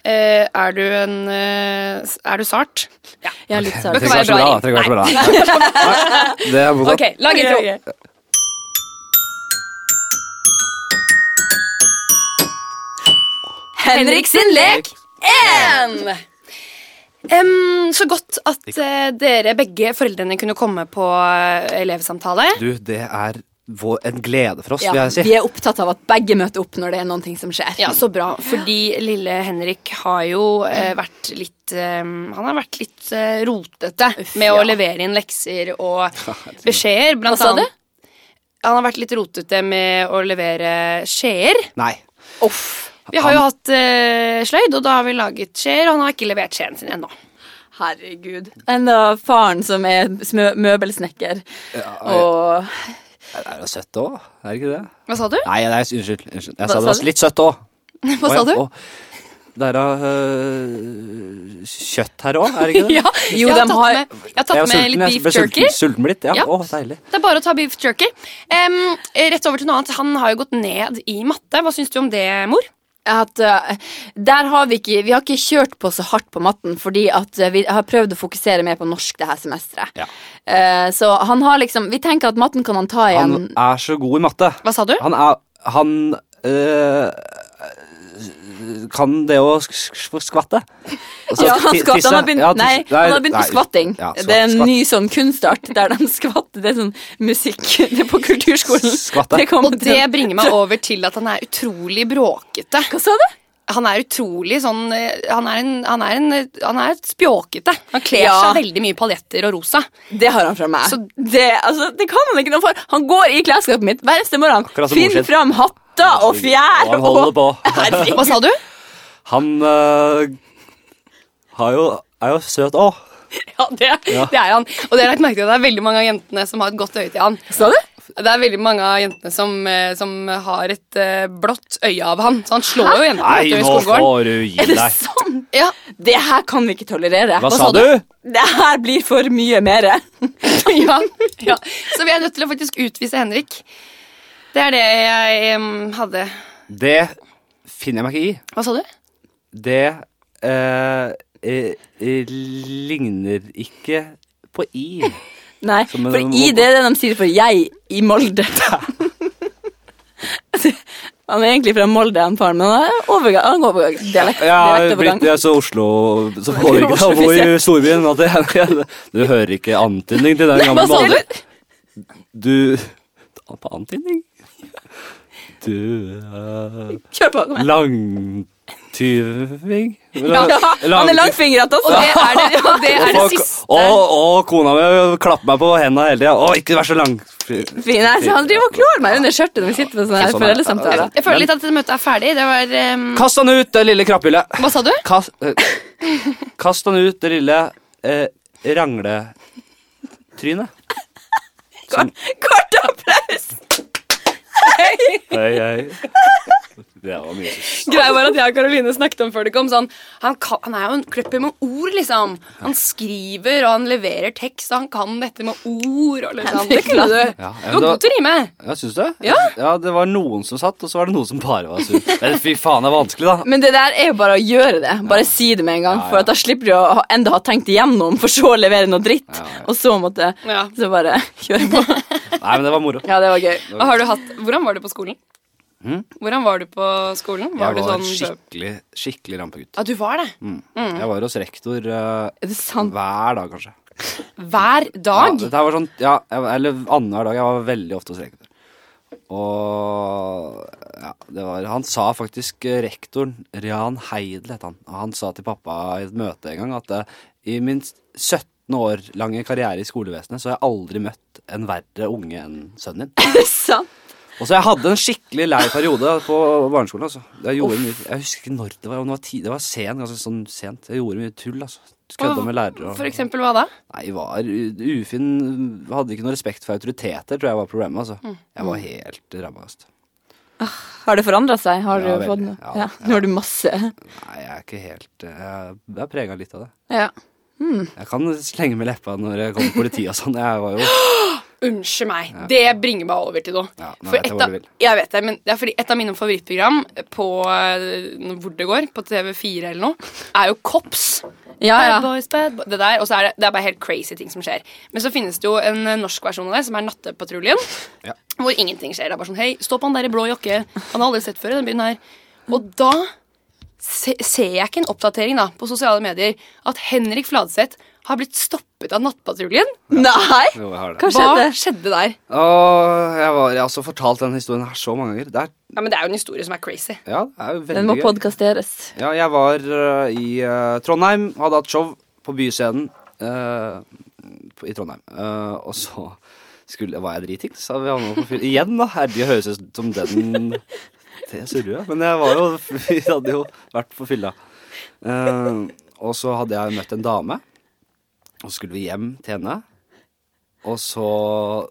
Eh, er du en eh, s- Er du sart? Ja. Ja, litt Det sart. kan trenger ikke være være så bra. bra Det trenger ikke være så bra. Nei, Det er mottatt. Ok, lag intro. Ok, ok. Henrik sin lek! En. Em, så godt at eh, dere begge foreldrene kunne komme på eh, elevsamtale. Du, det er vår, en glede for oss, Ja, vil jeg si. vi er opptatt av at begge møter opp når det er noen ting som skjer. Ja, så bra. Fordi lille Henrik har jo eh, vært litt eh, Han har vært litt eh, rotete med ja. å levere inn lekser og beskjeder. Blant Hva sa annet- Han har vært litt rotete med å levere skjeer. Nei. Uff. Vi har jo hatt eh, sløyd, og da har vi laget skjeer, og han har ikke levert skjeen sin ennå. Herregud. Enda faren som er smø- møbelsnekker. og Det er jo søtt òg, er det ikke det? Hva sa du? Nei, nei, unnskyld. unnskyld. Jeg Hva sa det sa var du? litt søtt òg. Hva sa du? Dere har øh, kjøtt her òg, er det ikke det? Ja, Jo, jeg, har dem tatt har- med, jeg har Jeg tatt var med sulten, litt jeg beef ble jerky. Sulten, sulten blitt, ja. Ja. Å, deilig. Det er bare å ta beef jerky. Em, rett over til noe annet. Han har jo gått ned i matte. Hva syns du om det, mor? at eh, der har vi ikke Vi har ikke kjørt på så hardt på matten fordi at eh, vi har prøvd å fokusere mer på norsk det her semesteret. Ja. Eh, så han har liksom Vi tenker at matten kan han ta igjen. Han er så god i matte. Hva sa du? Han er Han øh, kan det å sk sk skvatte. Altså, ja, han ti- skvatt, tisse. han har begynt, Ja, tisse. nei, han har begynt nei, på skvatting. ja, skvatt, det er en skvatt. ny sånn kunstart der de skvatter. Det er sånn musikk Det er på kulturskolen. Skvatte. Det kommer Og til- det bringer meg over til at han er utrolig bråkete. Hva sa du? Han er utrolig sånn eh, Han er, en, han er, en, eh, han er spjåkete. Han kler Ja. seg veldig mye i paljetter og rosa. Det har han fra meg. Så- det, altså, det kan han ikke noe for. Han går i klesskapet mitt hver eneste morgen. Akkurat som Finn mor sin. fram hatter og fjær. Og han holder på. Hva sa du? Han øh, har jo, er jo søt òg. Ja, det, det er han. Og det har jeg lagt merke til at det er veldig mange av jentene som har et godt øye til han. Sa du? Det er veldig mange av jentene som, eh, som har et eh, blått øye av han. Så han slår jo jentene vet du, i skolegården. du gi Er det sant? Ja, Det her kan vi ikke tolerere. Hva sa du? Det her blir for mye mere. ja, ja. Så vi er nødt til å faktisk utvise Henrik. Det er det jeg em, hadde. Det finner jeg meg ikke i. Hva sa du? Det eh, eh, eh, ligner ikke på i. Nei, Som en- for i det er det de sier for jeg i Molde. han er egentlig fra Molde, han faren, men han er overgang. Han går overgang. Dialekt, Ja, dialektovergang. Britt, jeg så Oslo Så får ikke Oslo, han bor i storbyen. At jeg, du hører ikke antydning til den gamle Hva sa du? mannen. Du På antydning? Du eh, Kjør på. kom igjen. Langtyving? Han er langfingret Og også. det er det, og det, er det Og, siste. og, og kona mi klapper meg på hendene hele tida. Å, ikke vær så lang. Fy, Nei, så han driver og klår meg under skjørtet når vi sitter på sånne her Sånn er- foreldresamtaler. Jeg føler litt at dette møtet er ferdig. Det var em, Kast han ut, det lille krapphullet. Hva sa du? Kast, eh, kast han ut, det lille eh, rangletrynet. Som- Kort applaus! Hei, hei. Det var mye. Greia var at jeg og Karoline snakket om før det kom sånn han, kan, han er jo en kløpper med ord, liksom. Han skriver, og han leverer tekst, og han kan dette med ord. Og liksom. Det kunne du. Ja, Du var god til å rime. Ja, syns du? Ja. Det var noen som satt, og så var det noen som bare var sur. Men fy faen, det er vanskelig, da. Men det der er jo bare å gjøre det. Bare si det med en gang. Ja, ja. For at da slipper du å ha, enda ha tenkt igjennom, for så å levere noe dritt. Ja, ja. Og så måtte Ja. Så bare kjøre på. Nei, men det var moro. Ja, det var gøy. Og har du hatt, hvordan var du på skolen? Hm? Hvordan var du på skolen? Var, Jeg du var Hmm. sånn skikkelig, skikkelig rampegutt. Ja, du var det. Mm. Jeg var hos rektor eh, Er det sant? hver dag, kanskje. Hver Ja, dag. dette her var sånn, ja, jeg, eller annenhver dag. Jeg var veldig ofte hos rektor. Og ja, det var Han sa faktisk, eh, rektoren, Rian Heidel het han, og han sa til pappa i et møte en gang at eh, i min 17 år lange karriere i skolevesenet så har jeg aldri møtt en verre unge enn sønnen din. Er det sant? Og så jeg hadde en skikkelig lei periode på barneskolen. altså. Jeg gjorde mye, jeg husker ikke når det var, om det var, ti, det var sen, ganske sånn sent. Jeg gjorde mye tull, altså. Kødda med lærere. og- For eksempel hva da? Nei, var u- ufin Hadde ikke noe respekt for autoriteter, tror jeg var problemet. altså. Mm. Jeg var helt rabba. Altså. Har det forandra seg? Har Ja, du veldig. fått noe? Ja, Ja, Nå har du masse Nei, jeg er ikke helt eh, Jeg jeg er prega litt av det. Ja. Jeg kan slenge med leppa når jeg kommer politi og sånn. Jeg var jo Unnskyld meg. Det bringer meg over til noe. Ja, nå For vet et jeg hvor av- du vil. Jeg vet det, men det er fordi et av mine favorittprogram på eh, hvor det går, på TV4 eller noe, er jo Kops. ja, Bad ja. boys, bad boys. Det der, og så er det, det er bare helt crazy ting som skjer. Men så finnes det jo en eh, norsk versjon av det, som er Nattepatruljen. Ja. Hvor ingenting skjer. Det er bare sånn Hei, stå på han der i blå jakke. Han har aldri sett før i den byen her. Og da se, ser jeg ikke en oppdatering da, på sosiale medier at Henrik Fladseth har blitt stoppet av Nattpatruljen. Nei! Jo, jeg har Hva det. Hva skjedde? skjedde der? Åh, jeg, var, jeg har også fortalt den historien her så mange ganger. Det er, Ja, men Det er jo en historie som er crazy. ja, det er jo veldig Den må gøy. podkasteres. Ja, jeg var eh, i eh, Trondheim, hadde hatt show på Byscenen eh, på- i Trondheim. Eh, og så skulle, var jeg dritings. så vi havnet på fyr. Igjen, da. Herlig høres ut som den Det surrer jeg. Men jeg var jo Vi hadde jo vært på fylla. Eh, og så hadde jeg møtt en dame, og så skulle vi hjem til henne. Og så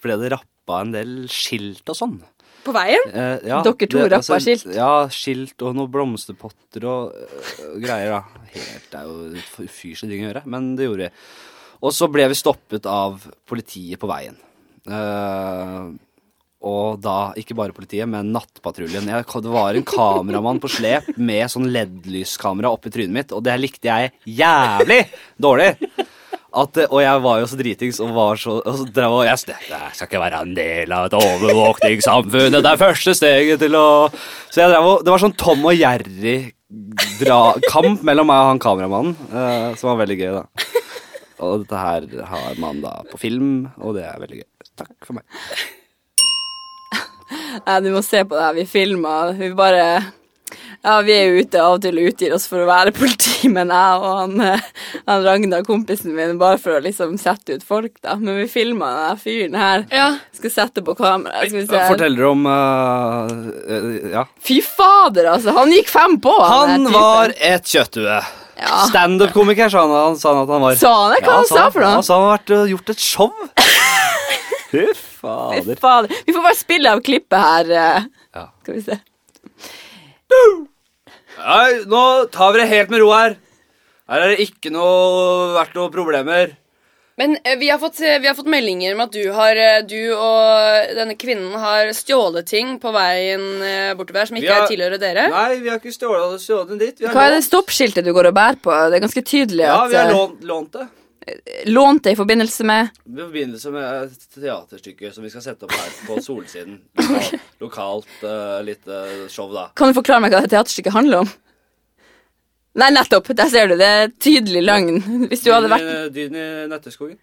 ble det rappa en del skilt og sånn. På veien? Eh, ja, Dere to det- rappa skilt. Ja, skilt og noen blomsterpotter og øh, greier, da. Helt, det er jo et for- fyrslig ting å gjøre, men det gjorde vi. Og så ble vi stoppet av politiet på veien. Eh, og da ikke bare politiet, men Nattpatruljen. Jeg, det var en kameramann på slep med sånn LED-lyskamera oppi trynet mitt, og det likte jeg jævlig dårlig. At, eh, og jeg var jo så dritings og var så, og så drev og jeg, s- jeg skal ikke være en del av et overvåkningssamfunn. Det er første steget til å Så jeg drev og Det var sånn Tom og Jerry-kamp mellom meg og han kameramannen, eh, som var veldig gøy, da. Og dette her har man da på film, og det er veldig gøy. Takk for meg. Ja, du må se på det her. Vi filmer. Vi bare Ja, vi er jo ute av og til og utgir oss for å være politi, men jeg og han, eh, han Ragnar, kompisen min, bare for å liksom sette ut folk, da. Men vi filma den her fyren her. Ja. Skal sette på kamera. Skal vi se. Fortell dere om eh, eh, Ja. Fy fader, altså! Han gikk fem på! Han her typen. var et kjøtthue. Ja. Standup-komiker, sa han, han sa han at han var. Sa han det? Hva han sa for noe? Han sa han har vært, øh, gjort et show. Fy fader. Fader. Vi får bare spille av klippet her. eh. Ja. Skal vi se. Nei, nå tar vi det helt med ro her. Her har det ikke noe, vært noen problemer. Men eh, vi har, fått, eh, vi har fått meldinger om at du, har, eh, du og denne kvinnen har stjålet ting på veien eh, bortover her som Vi ikke har- er tilhører dere. Nei, vi har ikke stjålet det stjålet den dit. Vi har Hva er det lånt- stoppskiltet du går og bærer på? Det er ganske tydelig Ja, at vi har eh, lånt, lånt det. lånt det i forbindelse med I forbindelse med et teaterstykke som vi skal sette opp her på Solsiden. Lokalt, lokalt øh, litt øh, show, da. Kan du forklare meg hva det teaterstykket handler om? Nei, nettopp! Der ser du. Det er tydelig løgn. Hvis du hadde vært Dyn i- Dyn i Nøtteskogen.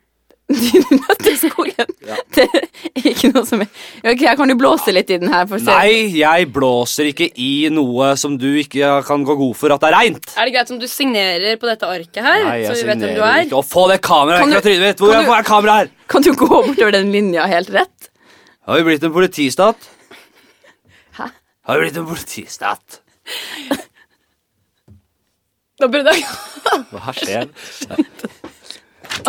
din nøtt i skogen. Det er ikke noe som er Ok, jeg kan jo blåse litt i den her. For å se. Nei, jeg blåser ikke i noe som du ikke kan gå god for at det er reint. Er det greit om du signerer på dette arket her? Nei, så jeg vi vet hvem du signerer er? ikke. Å, få det kameraet Kan vekk du- fra trynet mitt! kan du- Hvor er kameraet her? Kan du gå bortover den linja helt rett? Har vi blitt en politistat? Hæ? Har vi blitt en politistat? Nå burde jeg... Hva skjer?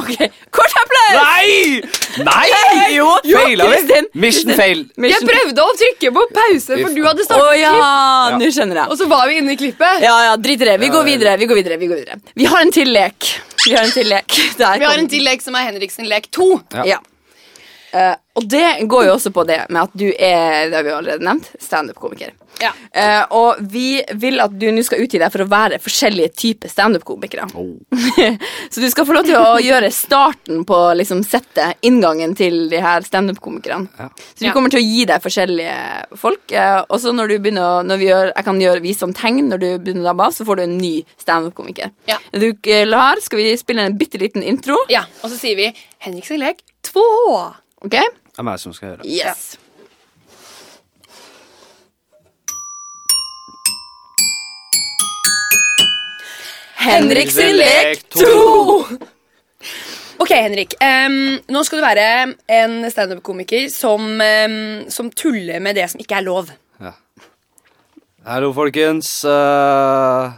Ok, kort applaus! Nei! Nei! Jo, jo, Feila vi? Kristin, Mission Kristin. fail. Jeg prøvde å trykke på pause, for du hadde Å startet ja, Ja. nå skjønner klipp, jeg. og så var vi inne i klippet. Ja, ja, drit i det. Vi går videre. Vi går videre, vi går videre. Vi har en til lek. Vi har en til lek. Der Vi har kom en til lek som er Henriksen lek 2. den. Ja. Eh, og det går jo også på det med at du er det har vi jo allerede nevnt, standup-komiker. Ja. Eh, og vi vil at du nå skal utgi deg for å være forskjellige typer standup-komikere. Så du skal få lov til å gjøre starten på liksom, settet, inngangen til de her standup-komikerne. Ja. Så vi Ja. kommer til å gi deg forskjellige folk. eh, og så når du begynner å, når vi gjør, Jeg kan gjøre vise om tegn når du begynner å dabbe av, så får du en ny standup-komiker. Ja. Er du klar? Skal vi spille en bitte liten intro? Ja, Og så sier vi 'Henrik sin lek 2'. Ok? Det er meg som skal gjøre det. Yes. Henrik sin lek to! Ok, Henrik. em, nå skal du være en standup-komiker som, em, som tuller med det som ikke er lov. Ja. Hallo, folkens. Eh,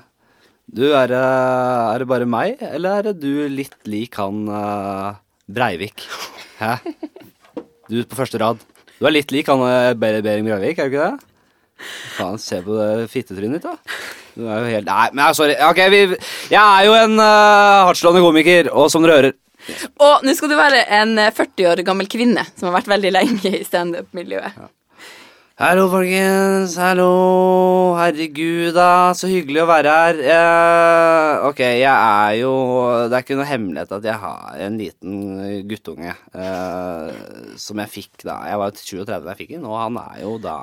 du, er det, er det bare meg, eller er det du litt lik han eh, Breivik? Hæ? Du på første rad. Du er litt lik han eh, Ber Behring Breivik, er du ikke det? Faen, se på det fittetrynet ditt, da. Du er jo helt Nei, men jeg er sorry. Ok, vi Jeg er jo en uh, hardtslående komiker, og som dere hører Og nå skal du være en eh, 40 år gammel kvinne som har vært veldig lenge i standup-miljøet. Hallo, folkens. Hallo. Herregud, da. Så hyggelig å være her. Eh, ok, jeg er jo Det er ikke noe hemmelighet at jeg har en liten guttunge eh, som jeg fikk da Jeg var 37 da jeg fikk den, og han er jo da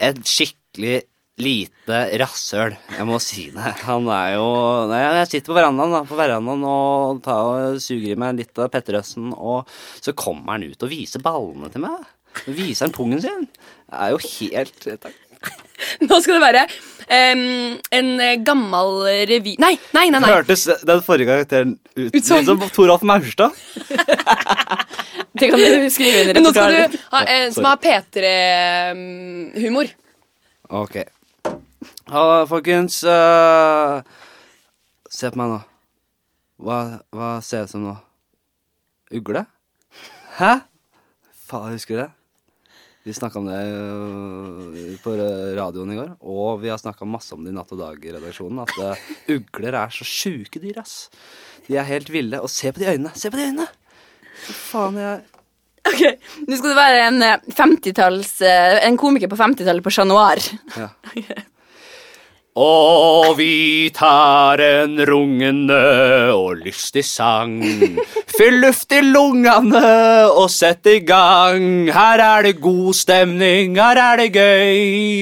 et skikkelig lite rasshøl. Jeg må si det. Han er jo Nei, jeg sitter på verandaen, da, på verandaen og, tar og suger i meg litt av Petterøsen, og så kommer han ut og viser ballene til meg. Viser han pungen sin? Det er jo helt Nå skal det være em, en eh, gammel revy... Nei, nei, nei. nei. Hørtes den forrige karakteren ut, Ut som- som Toralf Maurstad? Det kan du skrive inn i Men nå skal repertoaret. du ha en som har P3-humor. Ok. Halla, folkens. eh, se på meg nå. Hva, hva ser jeg ut som nå? Ugle? Hæ? Faen, husker du det? Vi snakka om det øh, på øh, radioen i går, og vi har snakka masse om det i Natt og Dag-redaksjonen. At øh, ugler er så sjuke dyr, ass. De er helt ville. Og se på de øynene! Se på de øynene! Fy faen, jeg Ok, Nå skal du være en, eh, 50-talls, eh, en komiker på 50-tallet på Chat Noir. Ja. Og vi tar en rungende og lystig sang. Fyll luft i lungene og sett i gang. Her er det god stemning, her er det gøy.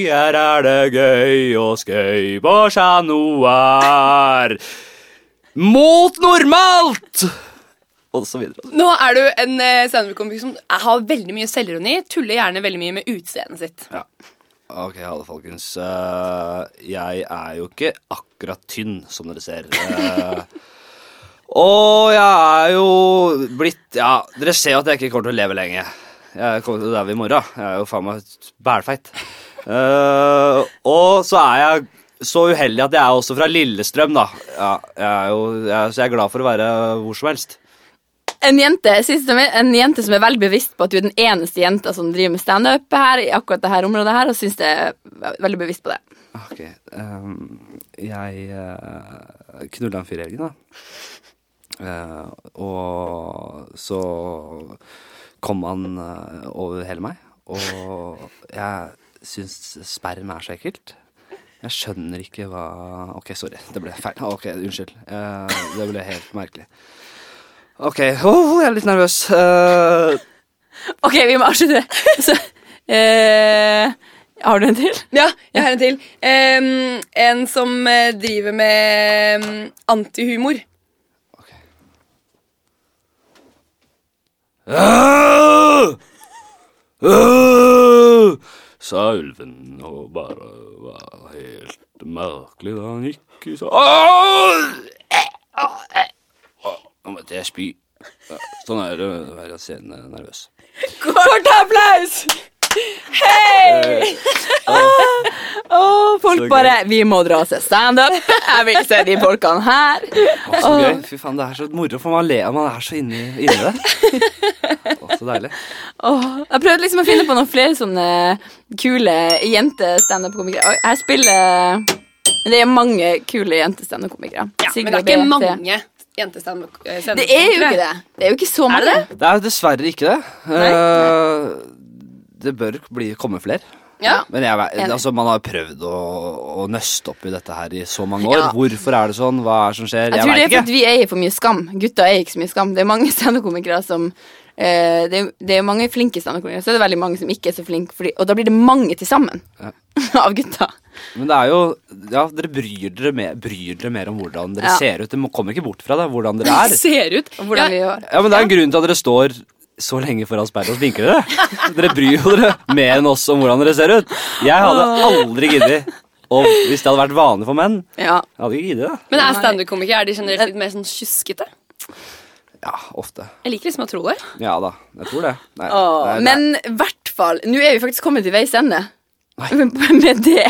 Her er det gøy og skøy på Chat Noir. Mot normalt! Og så videre. Nå er du en eh, standup-komiker som har veldig mye selvironi. Tuller gjerne veldig mye med utseendet sitt. Ja. Ok, alle folkens. Eh, jeg er jo ikke akkurat tynn, som dere ser. Eh, og jeg er jo blitt Ja, dere ser jo at jeg ikke kommer til å leve lenge. Jeg kommer til å dø i morgen. Jeg er jo faen meg bælfeit. Eh, og så er jeg så uheldig at jeg er også fra Lillestrøm, da. Ja, jeg er jo, jeg, er- så jeg er glad for å være hvor som helst. En jente, siste, som er- en jente som er veldig bevisst på at du er den eneste jenta som driver med standup her, i akkurat det her området her, og syns det er ve- veldig bevisst på det. Ah, Ok, ehm, jeg uh, knulla en fyr i helgen, da. Eh, og så kom han eh, over hele meg, og jeg syns sperm er så ekkelt. Jeg skjønner ikke hva Ok, sorry, det ble feil. Ah, Ok, Unnskyld. Eh, det ble helt merkelig. Ok, åh, jeg er litt nervøs. Eh, Ok, vi må avslutte. Så, eh, har du en til? Ja, jeg har en til. Em, en som eh, driver med em, antihumor. Ok. «Au! Au!» Ah! Sa ulven og bare var helt merkelig da han gikk i så Ah! Nå måtte jeg spy. Ja, Sånn er det å være scene nervøs. Kort applaus! Hei! Åh, folk Så gøy. bare Vi må dra og se standup. Jeg vil se de folkene her. Å, så gøy. Fy faen, det er så moro, for man ler man er så inni inni det. Å, så deilig. Åh, jeg prøvde liksom å finne på noen flere sånne kule jente-standup-komikere. Oi, Her spiller Men det er mange kule jente-standup-komikere. Ja, men Sigrid det er ikke Bente. mange jentestandup. eh, Det er jo ikke det. Det er jo ikke så Er mange. det Det er jo dessverre ikke det. Nei. Eh, det bør bli, komme flere. Ja. Men jeg, ve- Enig. altså, man har prøvd å, å nøste opp i dette her i så mange år. Ja. Hvorfor er det sånn? Hva er det som skjer? Jeg Jeg, tror det vet er ikke. fordi vi eier for mye skam. Gutta eier ikke så mye skam. Det er mange standup-komikere som eh, det, er, det er mange flinke standup-komikere, så er det veldig mange som ikke er så flinke, fordi, og da blir det mange til sammen Ja. av gutta. Men det er jo Ja, dere bryr dere mer, bryr dere mer om hvordan dere Ja. ser ut. Dere må- kommer ikke bort fra det, hvordan dere er. Ser ut. Og hvordan vi ja, gjør. Ja, men Det er en grunn til at dere står så lenge foran speilet og sminker dere. Dere bryr jo dere mer enn oss om hvordan dere ser ut. Jeg hadde aldri giddet. Og hvis det hadde vært vanlig for menn, Ja. jeg hadde ikke giddet det. men er standup-komikere er de generelt litt mer sånn kjuskete? Ja, ofte. Jeg liker liksom å tro det. Ja da, jeg tror det. Nei, Åh, nei, nei. men i hvert fall Nå er vi faktisk kommet til veis ende. Med det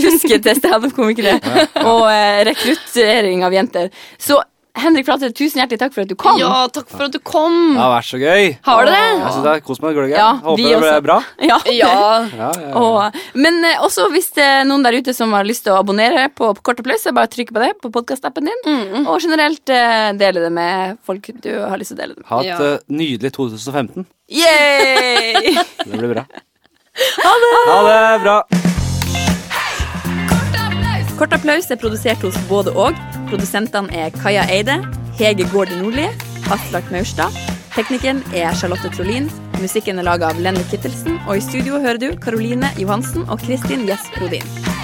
tjusket til standup-komikere og eh, rekruttering av jenter. Så Henrik Flatseth, tusen hjertelig takk for at du kom. Ja, takk for at du kom. Det har vært så gøy. Har du det? Jeg synes det er Altså, Kos meg. Går det gøy? Ja, Håper vi det ble også. bra. Ja. Ja. Ja, ja, ja. Og, men eh, også hvis det er noen der ute som har lyst til å abonnere på, på Kort applaus, så bare trykk på det på podkastappen din. Mm. Og generelt eh, dele det med folk du har lyst til å dele det med. Ha et Ja. eh, nydelig 2015. Yay! Det blir bra. Ha det bra. Kort applaus er produsert hos både og. Produsentene er Kaja Eide, Hege Gårdi Nordli, Aslak Maurstad. Teknikeren er Charlotte Trolin. Musikken er laga av Lenny Kittelsen. Og i studio hører du Karoline Johansen og Kristin Gjess Rodin.